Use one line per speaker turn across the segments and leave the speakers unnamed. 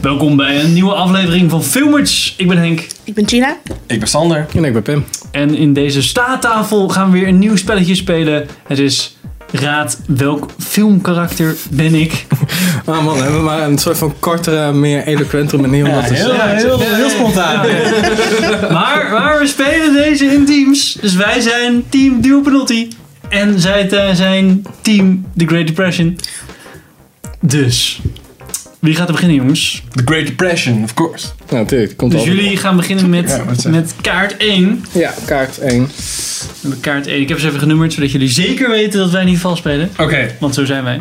Welkom bij een nieuwe aflevering van Filmers. Ik ben Henk.
Ik ben Gina.
Ik ben Sander.
En ik ben Pim.
En in deze staattafel gaan we weer een nieuw spelletje spelen. Het is raad welk filmkarakter ben ik.
Ah man, hebben we maar een soort van kortere, meer eloquente manier om dat te zeggen.
heel, heel spontaan.
Maar, maar we spelen deze in teams. Dus wij zijn team Duo Penalty. En zij eh, zijn team The Great Depression. Dus, wie gaat er beginnen jongens?
The Great Depression, of course.
Nou, natuurlijk. Komt
Dus
al.
jullie gaan beginnen met,
Ja, wat zeg.
met kaart 1.
Ja, kaart 1.
Kaart 1. Ik heb ze even genummerd, zodat jullie zeker weten dat wij niet vals spelen.
Oké.
Want zo zijn wij.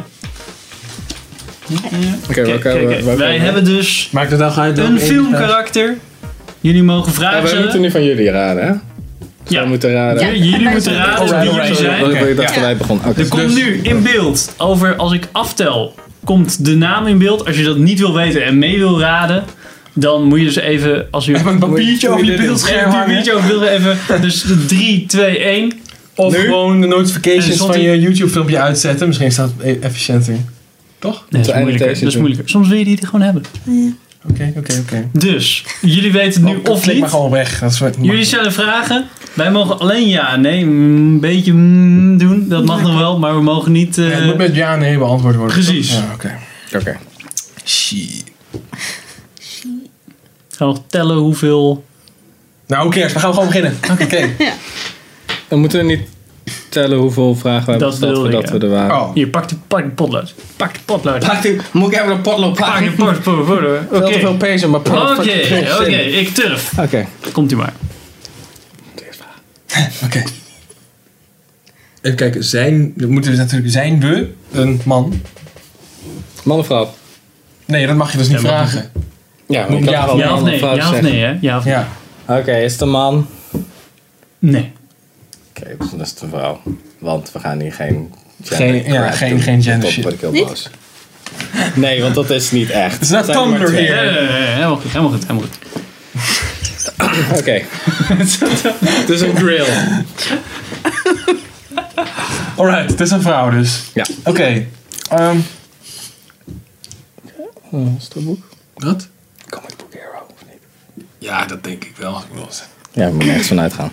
Oké,
Kijk, kijk, kijk. Wij hebben dus
Maakt het dan uit
een filmkarakter. Jullie mogen vragen
wij moeten
stellen.
nu van jullie raden, hè?
Ja.
Wij moeten raden.
Jullie- Jullie
Wij
moeten
zijn-
raden
Alright,
wie jullie
alright,
zijn.
alright.
Ik dacht
Ja.
dat wij begonnen. Oké.
Er komt nu in beeld over als ik aftel, komt de naam in beeld. Als je dat niet wil weten en mee wil raden, dan moet je dus even als u
Een papiertje over je beeldscherm
Even een
hangen.
biertje over wil even. Dus 3, 2, 1.
Of
Nu?
gewoon de
Eh,
notifications
stond
van
ie-
je YouTube filmpje uitzetten. Misschien is dat e- efficiënter. Toch?
Nee, dat is
einde
moeilijker.
deze
Dat is
doen.
moeilijker. Soms wil je die gewoon hebben.
Oké, oké, oké.
Dus, jullie weten nu of
Oh, Klik
niet.
maar gewoon weg. Dat is wat
Jullie stellen vragen. Wij mogen alleen ja, nee, mm, een beetje mm, doen. Dat mag nog wel, maar we mogen niet. eh,
Ja, het moet met ja nee beantwoord worden.
Precies.
toch? Ja, oké.
Oké.
Shit.
gaan nog tellen hoeveel.
Nou, hoe cares? We gaan gewoon beginnen. Oké.
Dan moeten we niet tellen hoeveel vragen we hebben
Dat
gesteld
wilde ik,
voordat we er waren.
Oh.
Hier, pak de, pak de potlood. Pak de potlood. Pak
Moet ik even een potlood
de pot- pot- potlood. Oké.
Veel te veel pees in mijn potlood.
Oké, oké, ik turf.
Oké.
Komt u maar.
Oké. Even kijken. Zijn... dat Moeten we natuurlijk... Zijn we een man?
Man of vrouw?
Nee, dat mag je dus niet
Ja, maar-
vragen.
Ja,
Moet ja of
Ja of nee? Ja of nee, hè? Ja of
Ja.
Oké, is het een man?
nee?
Oké, dus dat is de vrouw. Want we gaan hier geen
Geen- ja,
crap
geen-
doen.
geen gender
Dat
shit.
word ik heel
Niet?
boos. Nee, want dat is niet echt.
Is dat
Zijn er maar
Tumblr
twee.
hier?
Ja, ja, ja, ja, helemaal goed, helemaal goed, helemaal goed.
Oké. het is een grill.
Alright, het is een vrouw dus.
Ja.
Oké. ehm,
is het een boek?
Wat?
Comic Book Hero, of niet?
Ja, dat denk ik wel. Ik bedoel, ze-
Ja, we moeten ergens vanuit gaan.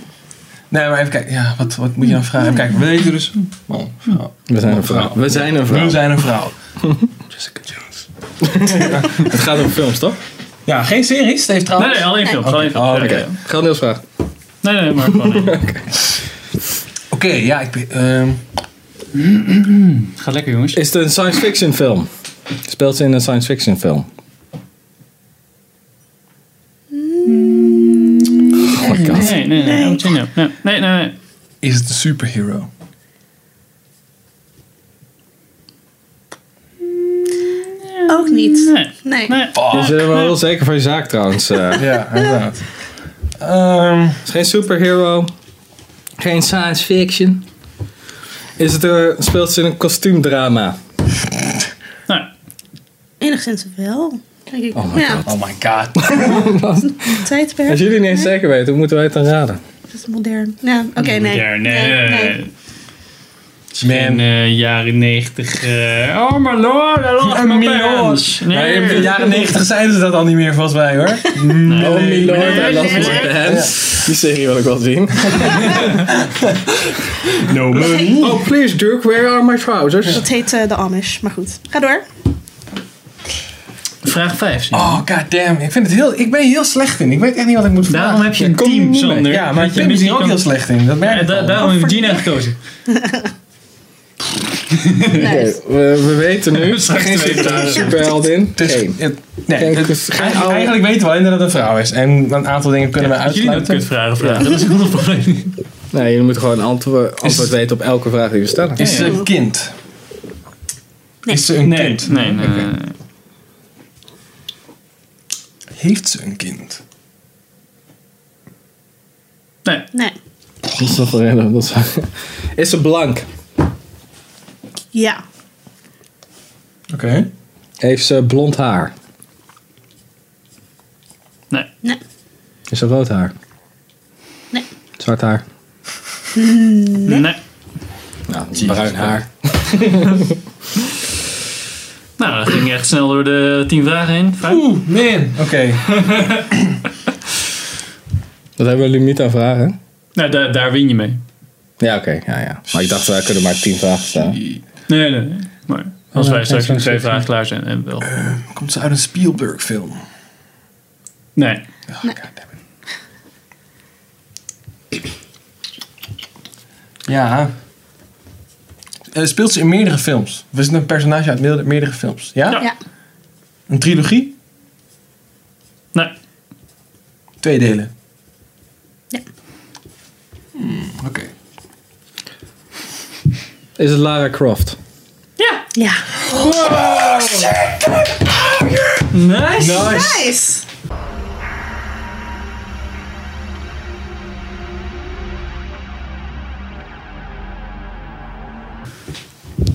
Nee, maar even kijken. Ja, wat, wat moet je nou vragen? Even kijken. We weten dus... Man, vrouw.
We zijn een
vrouw.
vrouw. We zijn een
We
vrouw.
zijn een vrouw. Jessica Jones.
Het gaat om films, toch?
Ja, geen series. Het heeft
Nee,
trouwens...
nee, alleen films.
Oké.
Alleen films.
Oh,
Ja,
oké.
ja, ja.
Geldeelsvraag.
Nee, nee, maar gewoon. eh,
Oké, ja, ik ben... ehm,
Gaat lekker, jongens.
Is het een science fiction film? Speelt ze in een science fiction film? Oh my god.
Nee, nee, nee. oh, nee, nee, nee, nee.
is het een superhero?
Ook niet.
Nee,
Nee.
nee.
Je zit er wel heel zeker van je zaak trouwens. eh.
Ja, inderdaad. Ehm,
Het is geen superhero. Geen science fiction. Is het er, speelt ze in een kostuumdrama?
Nou,
Enigszins wel. Denk ik.
Oh my
ja,
oh my god.
het tijdperk.
Als jullie niet eens zeker weten, hoe moeten wij het dan raden?
Dat is modern. Ja, oké, nee.
Ja,
nee.
Man, eh, jaren 90. eh, oh, my lord, I lost
Een
my
miljoen.
pants.
Nee, in de jaren negentig zeiden ze dat al niet meer, volgens mij, hoor.
Oh
nee,
my lord,
nee,
I lost
nee.
my hands. Die serie wil ik wel zien.
No money.
Oh, please Duke, where are my trousers?
Dat heet eh, de Amish, maar goed. Ga door.
Vraag 5.
Oh, goddamn. Ik, vind het heel, ik ben hier heel slecht in. Ik weet echt niet wat ik moet vragen.
Daarom heb je een
Ja, kom
team,
niet mee.
Sander.
Ja, maar
Dat je
Pim is hier
misschien
ook
kan-
heel slecht in. Dat merk
Ja, Eh,
ik
da-
al.
daarom heb ik Gina gekozen.
Nice.
We, we weten nu.
Straks
Geen
twee vragen.
superheld in.
Het is-
Geen.
het- nee,
Geen
het-
kus- geen
eigenlijk,
oude-
eigenlijk weten we alleen dat het een vrouw is. En een aantal dingen kunnen we
Als jullie dat kunt vragen,
uitsluiten.
vragen. Dat is een ander probleem.
Nee, jullie moeten gewoon antwoord, antwoord
het-
weten op elke vraag die we stellen.
Is ze een kind? Is ze een
Nee,
kind?
nee, eh, nee.
Heeft ze een kind?
nee.
Nee.
Dat is toch wel redelijk, dat is- Is ze blank?
Ja.
Oké.
Heeft ze blond haar?
Nee.
Nee.
Is ze rood haar?
Nee.
Zwart haar?
Nee.
Nou, bruin haar.
Nou, dat ging echt snel door de tien vragen heen. Fijn.
Oeh, man. Oké.
Dat hebben we limiet aan vragen.
Nou, daar, daar win je mee.
Ja, oké. ja, ja. Maar ik dacht, wij kunnen maar tien vragen stellen.
Nee, nee, nee. Maar als
Oh,
wij
ja,
straks
zo'n
nog twee
soort-
vragen klaar zijn, en wel.
Komt ze uit een Spielberg film?
Nee.
Oh, goddammit. Ja. Eh, speelt ze in meerdere films? Of is het een personage uit meerdere- meerdere films? Ja?
Ja.
Ja.
Een trilogie?
Nee.
Twee delen?
Ja.
Hmm, Oké.
Is het Lara Croft?
Ja.
Ja.
Nice.
Nice!
Nice.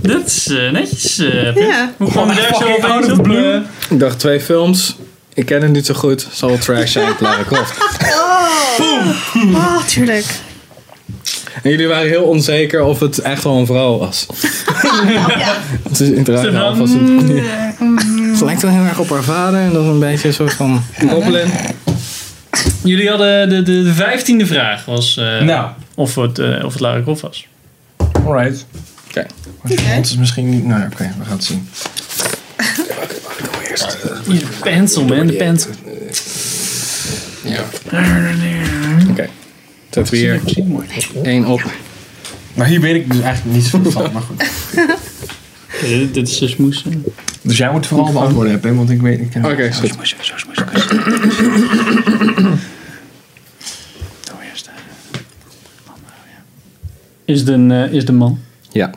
Dat is eh, netjes. eh, Pim.
Ja.
Hoe kwam je daar zo
Oh, Fucking out
opeens
of the
op?
blue.
Eh,
Ik dacht twee films. Ik ken het niet zo goed. Zal wel trash zijn, Lara Croft.
Oh, tuurlijk.
En jullie waren heel onzeker of het echt wel een vrouw was. Het is in het raar
Stefan,
half was het. Ze lijkt wel heel erg op haar vader. En dat is een beetje een soort van goblin.
Jullie hadden de, de, de vijftiende vraag. Was, eh,
Nou,
of, het, eh, of het Lara Croft was.
alright.
Oké.
Maar voor ons is misschien niet... Nou, oké, we gaan het zien.
De pencil, man. De pencil.
Ja.
Oké. Zet we hier één op.
Maar hier weet ik dus eigenlijk niet zoveel van, maar goed.
Oké, dit, dit is dus moes. hè.
Dus jij moet vooral beantwoorden hebben, want ik weet... Ik ken
Oké, is goed.
Is het een, eh, is het een man?
Ja.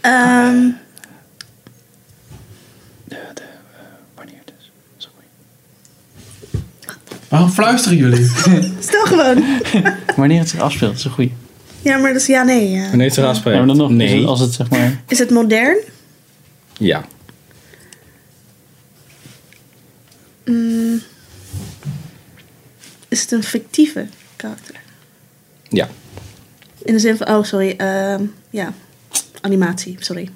Ehm,
Wanneer dus?
Waarom fluisteren jullie?
stel gewoon.
Wanneer het zich afspeelt, is een goeie.
Ja, maar dat is ja, nee. ja.
Wanneer ze eraan
Ja,
spreken?
maar dan nog, als
Nee.
het- als het zeg maar...
Is het modern?
Ja.
Mm. Is het een fictieve karakter?
Ja.
In de zin van, oh sorry, ehm, ja, animatie, sorry.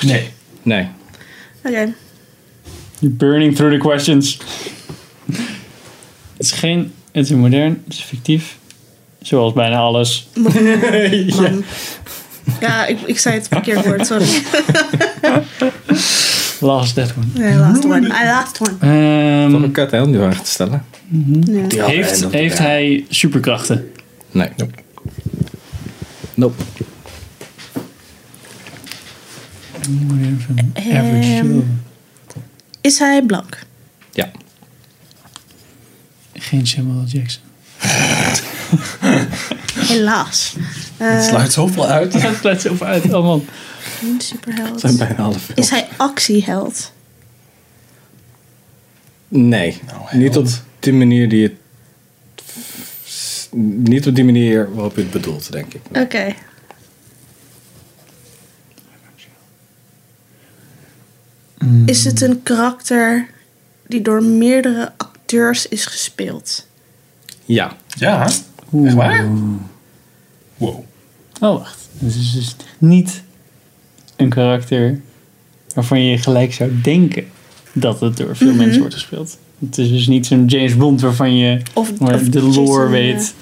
Nee.
Nee.
Mm.
Oké,
You're burning through the questions. het is geen... Het is een modern, het is fictief. Zoals bijna alles.
man. Ja, ik, ik zei het verkeerd woord, sorry.
Last that one.
Nee, last one. I last one.
Ehm,
Toch een kut hè, om die vraag te stellen?
Ja.
heeft heeft hij superkrachten?
Nee.
Nope.
Nope.
Ehm, is hij blank?
Ja.
Geen Samuel L. Jackson.
Helaas.
Het
Eh
sluit zoveel uit.
Dat blijft zo ver uit. Oh man.
een superheld.
zijn bijna half veel.
Is hij actieheld?
Nee.
Nou, held.
niet op die manier die het... Niet op die manier waarop je het bedoelt, denk ik.
Oké. Is het een karakter die door meerdere acteurs is gespeeld?
Ja.
Ja, echt waar? Wow.
Oh, wacht. Dus het is niet een karakter waarvan je gelijk zou denken dat het door veel mensen wordt gespeeld. Het is dus niet zo'n James Bond waarvan je
Of,
maar
of
Oh de lore
Jason, eh,
weet.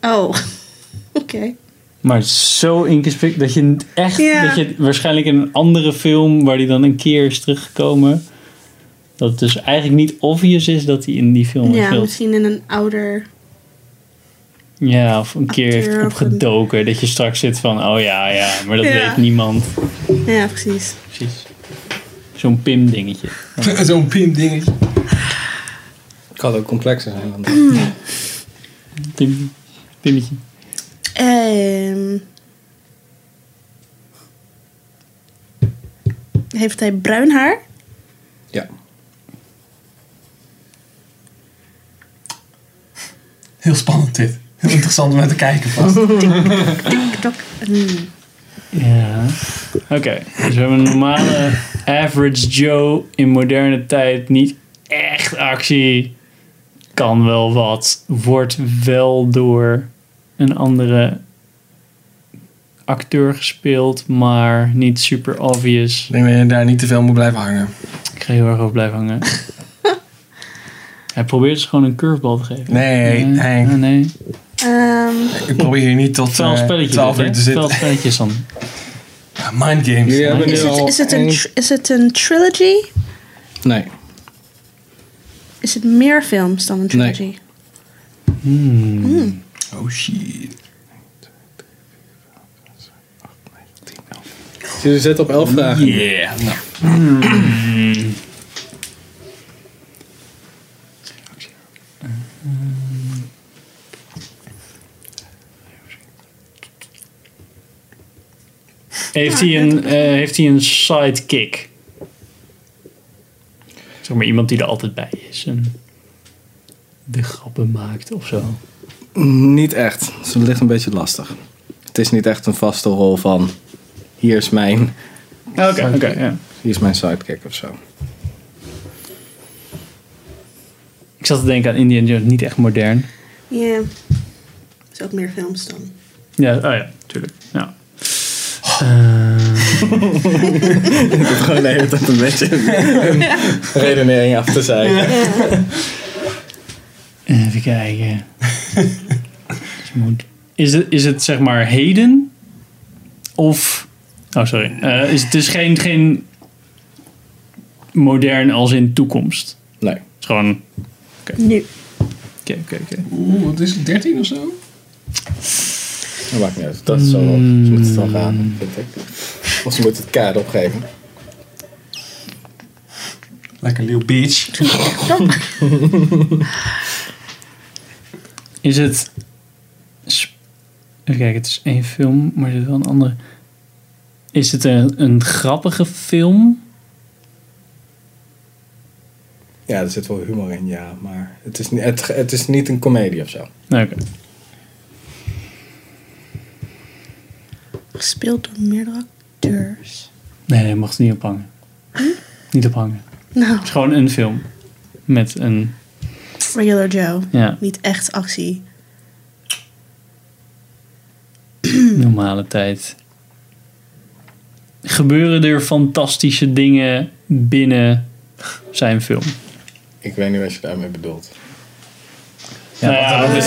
Oh, oké.
Maar het is zo ingespikt dat je het echt,
Ja.
dat je het waarschijnlijk in een andere film waar die dan een keer is teruggekomen, dat het dus eigenlijk niet obvious is dat hij in die film
Ja,
speelt.
misschien in een ouder...
Ja, of een keer heeft
Acteur of een-
opgedoken. Dat je straks zit van, oh ja, ja, maar dat
Ja.
weet niemand.
Ja, precies.
Precies. Zo'n Pim dingetje.
Zo'n pim dingetje.
Kan ook complexer zijn dan dat.
Pim, Pimmetje.
Ehm, heeft hij bruin haar?
Ja.
Heel spannend dit. Heel interessant om naar te kijken vast.
Tok. Hmm.
Ja. Oké, dus we hebben een normale average Joe in moderne tijd. Niet echt actie. kan wel wat, wordt wel door een andere acteur gespeeld, maar niet super obvious.
Ik denk dat je daar niet te veel moet blijven hangen.
Ik ga heel erg over blijven hangen. Hij probeert dus gewoon een curvebal te geven.
Nee,
nee,
Henk.
nee, nee.
Ehm,
Ik probeer hier niet tot
Terwijl
eh,
spelletjes.
12 uur te zitten.
spelletjes dus, dan.
Ja, Mind games.
Jullie hebben
is,
nu
het,
al
is, het
één-
een, tr- is het een trilogy?
Nee.
Is het meer films dan een
Nee.
trilogy?
Oh shit.
Dus jullie zitten op 11 vragen.
Yeah. Nou,
Heeft, hij een, eh, heeft hij een sidekick? Zeg maar iemand die er altijd bij is en de grappen maakt of zo.
Niet echt. Ze ligt een beetje lastig. Het is niet echt een vaste rol van hier is mijn,
Oké, oké. ja.
hier is mijn sidekick of zo.
Ik zat te denken aan Indian Jones, niet echt modern.
Ja. Is ook meer films dan.
Ja, oh ja, tuurlijk. Ja. Eh,
Ik heb gewoon de hele tijd een beetje een redenering af te zijn.
even kijken. Ze moet- Is het, is het zeg maar heden? Of. Oh, sorry. Eh, is het dus geen, geen modern als in toekomst?
Nee.
Het is gewoon.
Nu.
Oké, oké, oké.
Oeh, wat is het, 13 of zo?
Dat maakt niet uit. Dat is zo. wel- Ze moeten het dan gaan, vind ik. Of ze moeten het kaart opgeven.
Lekker Lil Beach.
Is het. sp- Even kijken, het is één film, maar er is wel een andere. Is het een, een grappige film?
Ja, er zit wel humor in, ja. Maar het is, niet- het, het is niet een komedie of zo.
Nou, Oké.
Gespeeld door meerdere acteurs.
Nee, nee, je mag het niet ophangen. Niet ophangen. Het
Nou,
is gewoon een film. Met een.
Regular Joe.
Ja,
Niet echt actie.
normale tijd. Gebeuren er fantastische dingen binnen zijn film?
Ik weet niet wat je daarmee bedoelt.
Nou Ja, dat is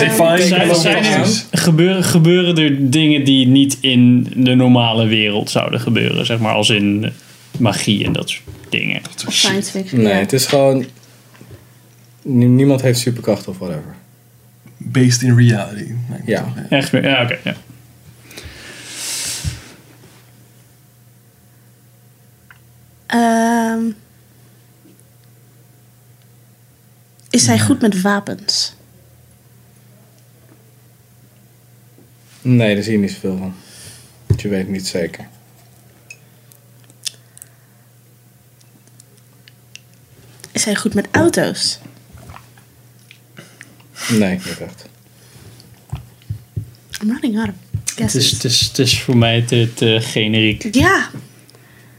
Zijn, zijn er, gebeuren, gebeuren er dingen die niet in de normale wereld zouden gebeuren? Zeg maar als in magie en dat soort dingen.
Of science fiction.
Nee,
ja.
het is gewoon... nie- Niemand heeft superkracht of whatever.
Based in reality. Lijkt me
Ja.
toch, hè?
Echt meer? Ja, oké. ja.
Ehm, is hij goed met wapens?
Nee, daar zie je niet zoveel van. Want je weet het niet zeker.
Is hij goed met auto's?
Nee, niet echt.
I'm running out of
Het, is,
guesses.
het, is, het is voor mij te, te generiek.
Ja.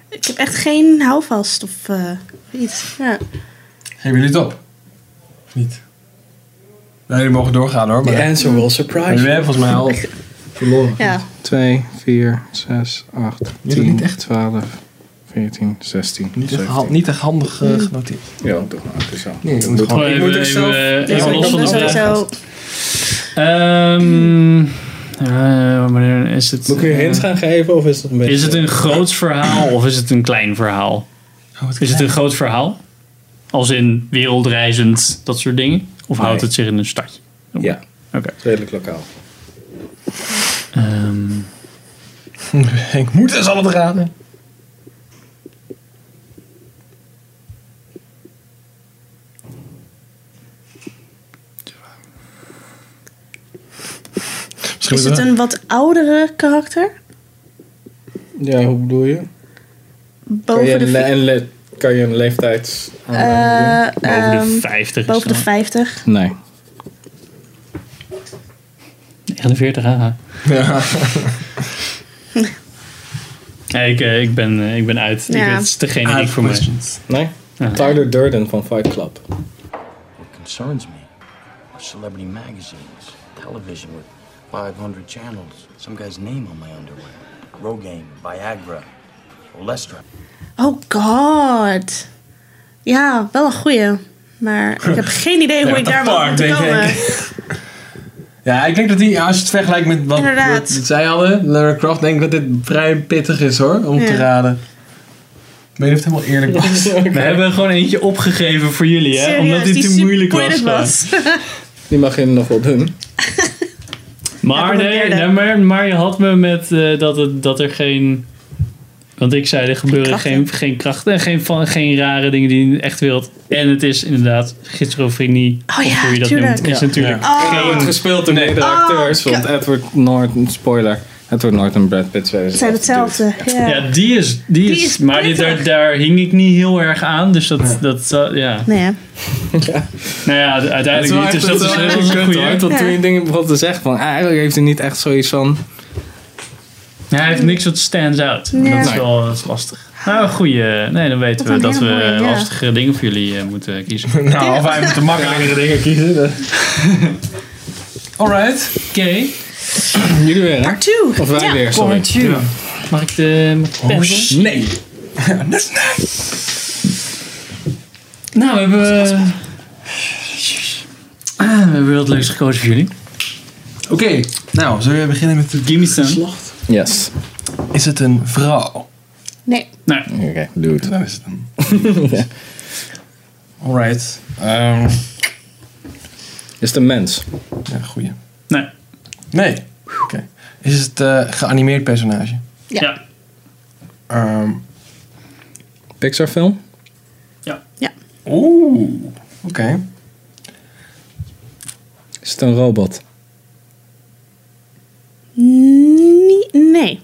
Ik heb echt geen houvast of eh, iets. Ja.
Geven jullie het op? Of niet? Nou, jullie mogen doorgaan hoor. Maar
The answer will
Maar
surprise
jullie
you.
hebben volgens mij al verloren.
ja.
2, 4, 6, 8,
doet niet echt.
12, 14, 16,
Niet echt, hand- niet echt handig eh, genoteerd.
Ja, toch maar. Het is zo.
Nee,
Dat
moet
moet-
gewoon-
Gewoon
ik
even, eh,
moet er zelf-
even-
Dus
even
ik
los van
ben
de vraag.
sowieso.
Ehm, eh, wanneer is het,
Moet ik u hints gaan geven of is dat een beetje...
is het een groot verhaal of is het een klein verhaal?
Oh,
Is het een groot verhaal? Als in wereldreizend, dat soort dingen? Of
Nee.
houdt het zich in een stadje?
Ja,
Oké.
redelijk lokaal.
Ehm,
Henk moet eens al het raden. Misschien
Is
moeten
het
we-
een wat oudere karakter?
Ja, hoe bedoel je? Kan
Boven
je
de,
een,
vi-
le- een le- kan je een leeftijd
eh,
boven de
ehm,
50 is
boven de
dan.
50.
Nee.
49, haha. Nee, ik, eh, ik, ben, eh, ik ben uit. Ik
Ja.
weet, het is te
Out
generiek
of
voor mij.
questions.
Nee?
Ja.
Tyler Durden van Fight Club.
What concerns me celebrity magazines, television with 500 channels, some guy's name on my underwear, Rogaine, Viagra, Olestra.
Oh god. Ja, wel een goeie. Maar ik heb geen idee hoe ik
the
daar moet
fuck,
komen.
denk Ja, ik denk dat die, als je het vergelijkt met wat,
Inderdaad.
wat zij hadden, Lara Croft, denk ik dat dit vrij pittig is hoor, om te
Ja.
raden. Ik weet niet of het helemaal eerlijk was.
We hebben er gewoon eentje opgegeven voor jullie, hè?
Serieus,
Omdat dit
die
te
super
moeilijk was.
moeilijk was. Oh
Die mag je nog wel doen.
Maar,
Ja,
nee,
probeerde.
nee, maar, maar je had me met eh, dat, het, dat er geen. Want ik zei, er gebeuren
krachten.
geen, geen krachten en geen, van, geen rare dingen die in de echte wereld. En het is inderdaad schizofrenie.
Oh ja,
of hoe je dat
tuurlijk.
noemt. is
Ja.
natuurlijk.
Oh.
Geen wordt gespeeld door de
Oh,
acteurs, want
ja.
Edward Norton, spoiler, Edward Norton Brad Pitt zijn
Het zijn hetzelfde. Ja.
Ja, die is. Die
Die
is,
is
maar die,
prettig.
daar, daar hing ik niet heel erg aan. Dus dat. dat, dat- ja.
Nee, hè?
Nou ja,
Het is
uiteindelijk
wel
niet.
echt
Dus
dat
dat is
is
heel
heel kut hoor.
goed.
Tot
Ja.
toen je dingen begon te zeggen van, ah, eigenlijk heeft hij niet echt zoiets van...
Hij heeft niks wat stands out. Maar
Ja.
Dat, is
Nee.
wel, dat is lastig. Nou, goeie. Nee, dan weten
Wat
we
een
dat we
hele mooie, ja.
lastige dingen voor jullie eh, moeten kiezen.
nou, of wij moeten makkelijkere dingen kiezen. dan- Alright.
Oké.
Jullie weer, hè?
Part two.
Of wij
Ja.
weer, sorry.
Ja.
Mag ik de mag ik de pen doen?
Nee.
Nou, we hebben. eh, ah, we hebben wat leuks gekozen voor jullie.
Oké, nou, zullen we beginnen met het
Gimme Stone.
geslacht?
Yes.
Is het een vrouw?
Nee.
Nou,
Oké, doe het.
Dan is het een. Alright. Ehm,
Is het een mens?
ja, goeie.
nee.
Nee. Oké. Is het eh geanimeerd personage?
Ja.
Ja.
ja.
Ehm,
Pixar film?
Oeh. Oké.
Is het een robot?
Nee. Nee.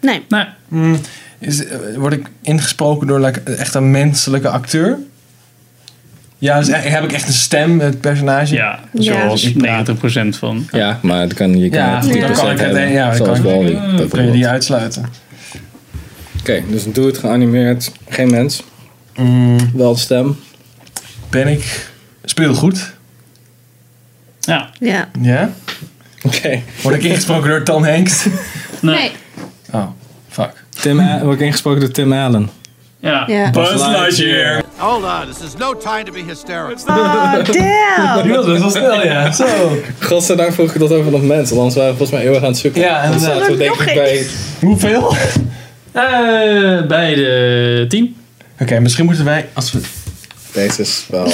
Nee.
Nou,
Hmm, is, eh, word ik ingesproken door like, echt een menselijke acteur? Ja, dus echt- heb ik echt een stem, het personage?
ja.
Ja,
Zoals
ik
90% van.
Ja, maar dat kan, je kan
Ja,
het
goed,
Ja.
dan
10%
kan ik het.
hebben,
Ja, dan
zoals
kan ik
Wall-E,
Dan kun je
bijvoorbeeld.
die uitsluiten.
Oké, dus doe het geanimeerd. Geen mens.
Hmm,
Wel stem.
ben ik speelgoed?
Ja.
Ja.
Ja?
Oké.
Word ik ingesproken door Tom Hanks?
Nee.
Nee.
Oh, fuck.
Tim, A- word ik ingesproken door Tim Allen.
Ja.
Ja.
Buzz Lightyear.
Hold on, this is no time to be hysterical.
Oh, damn.
Die was best wel snel, ja. Zo.
Godzijdank vroeg ik dat over nog mensen, anders waren we volgens mij heel erg aan het zoeken.
Ja,
Dat
inderdaad.
zaten we denk
Nog
ik
één.
bij...
Hoeveel? Oké,
Eh, bij de 10.
misschien moeten wij... Als we...
Deze is wel...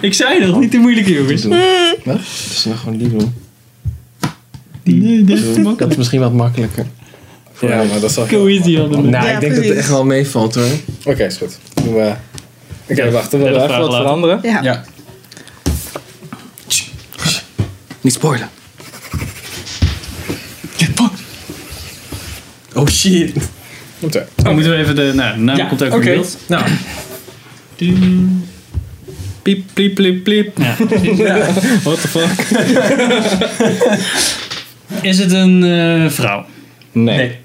ik zei dat, niet te moeilijk jongens.
Het is nog Dus gewoon die doen. Dat is misschien wat makkelijker.
Ja, maar dat zal...
Go easy on them.
Nou,
Ja,
ik denk dat
precies.
het echt wel meevalt hoor.
Oké, is goed. Doen we- Oké, wacht. We
derde
willen even
vraag
wat
later.
veranderen.
Ja.
Ja.
Niet spoilen.
Oh shit.
Moeten
Dan moeten we even de nou, naam komt ook in
oké.
beeld.
Nou,
Piep, piep, piep, piep.
Ja.
What the fuck?
Is het een eh, vrouw?
Nee.
nee.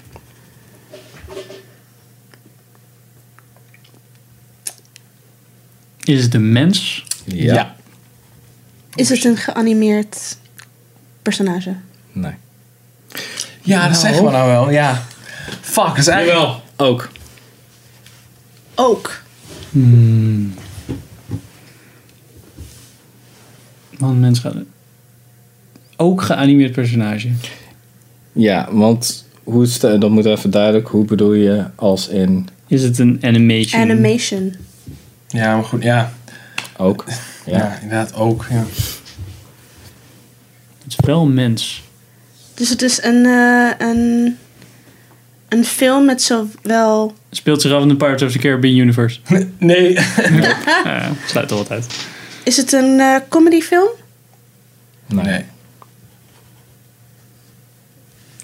Is het een mens?
Ja.
Ja.
Is het een geanimeerd personage?
Nee.
Ja, dat zeggen we nou wel. Ja. Fuck, dat is eigenlijk...
Jawel. Ook.
Ook.
Want mens gaat ook geanimeerd personage.
Ja, want hoe stel, dat moet even duidelijk. Hoe bedoel je als in
Is het een animation?
Animation.
Ja, maar goed. Ja.
ook?
Ja,
Ja.
inderdaad ook. Ja.
Het is wel een mens.
Dus het is een, eh, een, een film met zowel...
Het speelt zich af in de Pirates of the Caribbean universe.
Nee.
Ja, Eh, sluit er wat uit.
Is het een eh, comedyfilm?
Nee.
Nee.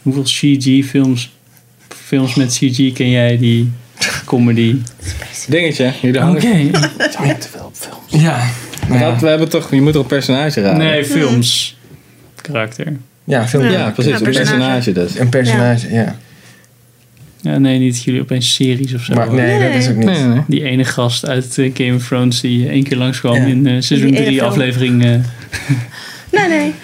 Hoeveel CG films, films met CG ken jij die comedy?
Dingetje, jullie hangen.
Ja. Nou ja.
Dat, we hebben toch, je moet toch een personage raden?
Nee, films. Karakter.
Ja, film.
Ja, precies.
Ja,
een personage dus.
Een personage, ja.
Ja, nee, niet jullie opeens series of zo.
Maar nee, dat is ook niet.
Nee, nee, nee.
Die ene gast uit eh, Game of Thrones die eh, één keer langskwam
Ja.
in eh seizoen
Die ene
3
film.
aflevering. eh,
Nee, nee.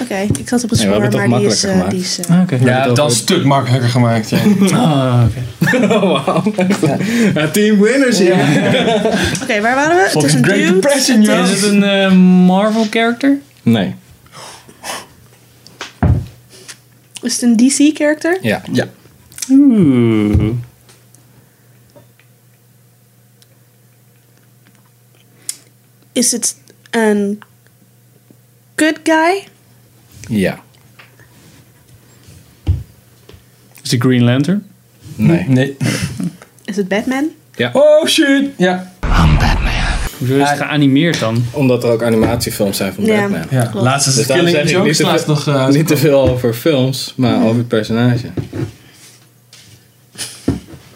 Oké, ik zat op het
Ja, we
spoor,
hebben het
maar
toch
die is...
makkelijker
eh,
gemaakt.
die is eh,
ah, oké.
Ja, dat is een stuk makkelijker gemaakt. Ja.
Ah, oké.
Oh, wauw. Ja, team winners, ja.
Oké, waar waren we? Het is
Fucking
een
Great
dude.
Depression,
Het
joh.
is-
Is het een eh, Marvel character?
Nee.
Is het een DC-character?
Ja.
Ja.
Oeh.
Is het een good guy?
Ja.
Is de Green Lantern?
Nee.
Nee.
Is het Batman?
Oh shit! Ja.
Hoezo is het geanimeerd dan?
Omdat er ook animatiefilms zijn van
Ja.
Batman.
ja.
Klopt.
Laatst is
Dus
het
daarom
Killing
zeg ik niet
Joke
te,
laatst nog.
veel,
eh,
niet te veel over films, maar over het personage.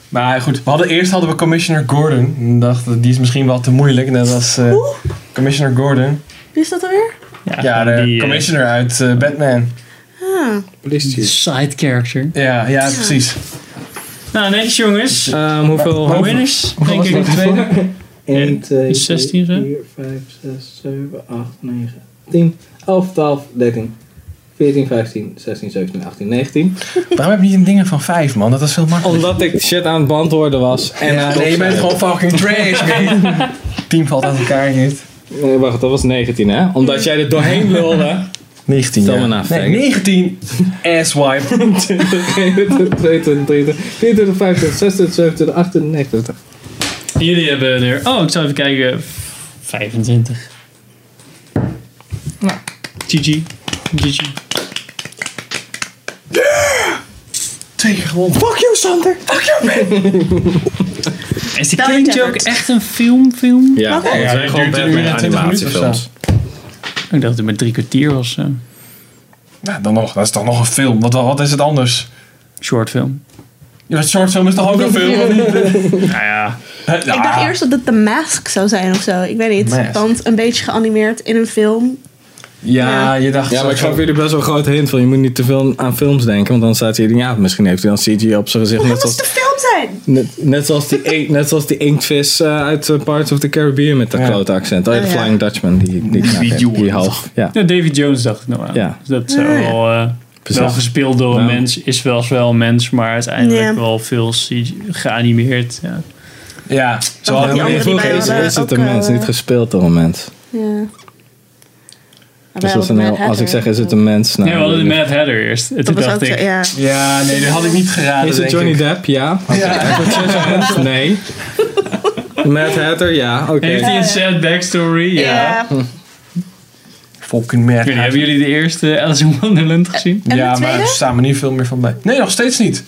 Maar goed, we hadden, eerst hadden we Commissioner Gordon. En dachten, die is misschien wel te moeilijk. Net als eh,
Oeh.
Commissioner Gordon.
Wie is dat alweer?
Ja, de
die, eh,
commissioner uit eh, Batman.
Ah,
Police chief.
Side character.
Ja, ja, precies.
Nou, netjes jongens.
Ehm, hoeveel...
Hoeveel winners? Denk ik de tweede.
1, 2,
16 zo?
4, 5, 6, 7, 8, 9, 10, 11, 12, 13, 14, 15, 16, 17, 18, 19.
Waarom heb je niet een dingen van vijf, man? Dat is veel makkelijker.
Omdat ik shit aan het beantwoorden was. En aan het
nee, je bent
opschrijven.
gewoon fucking trash, man. Team valt uit elkaar, niet.
Nee, wacht, dat was 19, hè? Omdat jij er doorheen wilde.
19,
Stel
ja.
me na,
Nee,
Frank.
19. Asswipe.
20, 21, 22, 23, 24, 25, 26, 27, 28, 29.
Jullie hebben er... Oh, ik zal even kijken. 25. GG. GG.
Twee keer gewonnen.
Fuck you, Sander!
Is de
Wel
Killing
endeavored.
Joke echt een filmfilm?
Ja,
Waarom?
het
Ja,
zijn gewoon
duurt een uur en
Batman
20 minuten of zo.
animatiefilms.
Ik dacht dat het maar drie kwartier was. eh,
Nou, dan nog. Dat is toch nog een film. Wat, wat is het anders?
shortfilm.
Ja, dat short film is toch ook een film? of niet?
Nou ja.
Eh, ja.
Ik dacht
Ah.
eerst dat het The Mask zou zijn of zo. Ik weet niet.
Mask.
Want een beetje geanimeerd in een film.
Ja, je dacht...
Ja, maar ik
zo-
gaf jullie best wel een grote hint van je moet niet te veel aan films denken, want dan staat hier, ja, misschien heeft hij dan CG op zijn gezicht, net
Dat moet
zoals,
de film zijn!
net, net zoals die, eend- net zoals die inktvis eh, uit eh, Pirates of the Caribbean met dat
Ja.
grote accent. Oh, ja, de
Oh, ja.
Flying Dutchman, die, die, knaak heeft, die half. Ja,
David Jones dacht ik nog aan.
Ja.
Dus dat zou
Ah, ja.
wel... eh,
precies.
Wel gespeeld door een
Nou.
mens, is wel eens wel een mens, maar uiteindelijk
Ja.
wel veel CG geanimeerd. Ja.
Ja,
had die
zo hadden we
andere
eerst
die
Vroeger
bij
is,
hadden
is het
ook,
een mens,
eh,
niet gespeeld door een mens.
Ja.
Dus dat is een heel, als ik zeg is het een mens, nou,
Nee, we hadden de
dan-
Mad Hatter eerst. En toen
Dat was ook
dacht
zo,
ik,
ja.
Ja, nee, dat had ik niet geraden.
Is
denk
het Johnny
ik.
Depp? Ja.
Ja.
Nee. Mad Hatter? Ja, oké.
heeft hij een sad backstory? Ja.
Ja.
Fucking
Ik weet niet,
merk.
hebben jullie de eerste Alice in Wonderland gezien?
En
Ja,
de
maar
tweede? Oh.
er staan me niet veel meer van bij. Nee, nog steeds niet.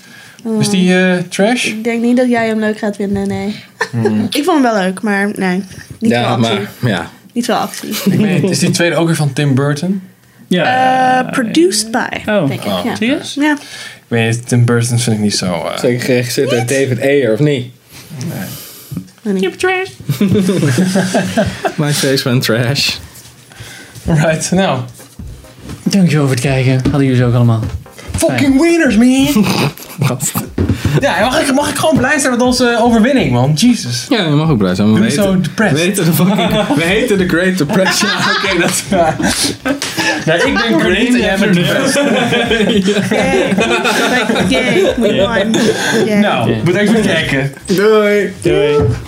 Is die eh, trash?
Ik denk niet dat jij hem leuk gaat vinden, nee. Ik vond hem wel leuk, maar nee. Niet
Hmm. Ja,
veel actie.
maar ja.
Niet veel actie.
Ik weet het. Is die tweede ook weer van Tim Burton?
Ja.
Eh, produced by,
Oh.
denk ik. Ja.
Serieus?
Ja.
Ik weet niet, Tim Burton vind ik niet zo... eh,
Zeker geregisseerd door David Ayer, of niet?
weet niet.
My face went trash.
Alright, nou.
Dankjewel voor het kijken. Hadden jullie ze ook allemaal.
Fucking winners, man! ja, mag ik, mag ik gewoon blij zijn met onze overwinning, man? Jesus.
Ja, je mag ook blij zijn. maar
Doe
We
niet zo
heten, we,
depressed.
heten de fucking, we heten de Great Depression. Oké, dat is waar.
Nee, ik ben great en jij bent depressed.
Yay. Like, Yay, we won. Yay.
Nou, bedankt voor het kijken.
Doei.
Doei.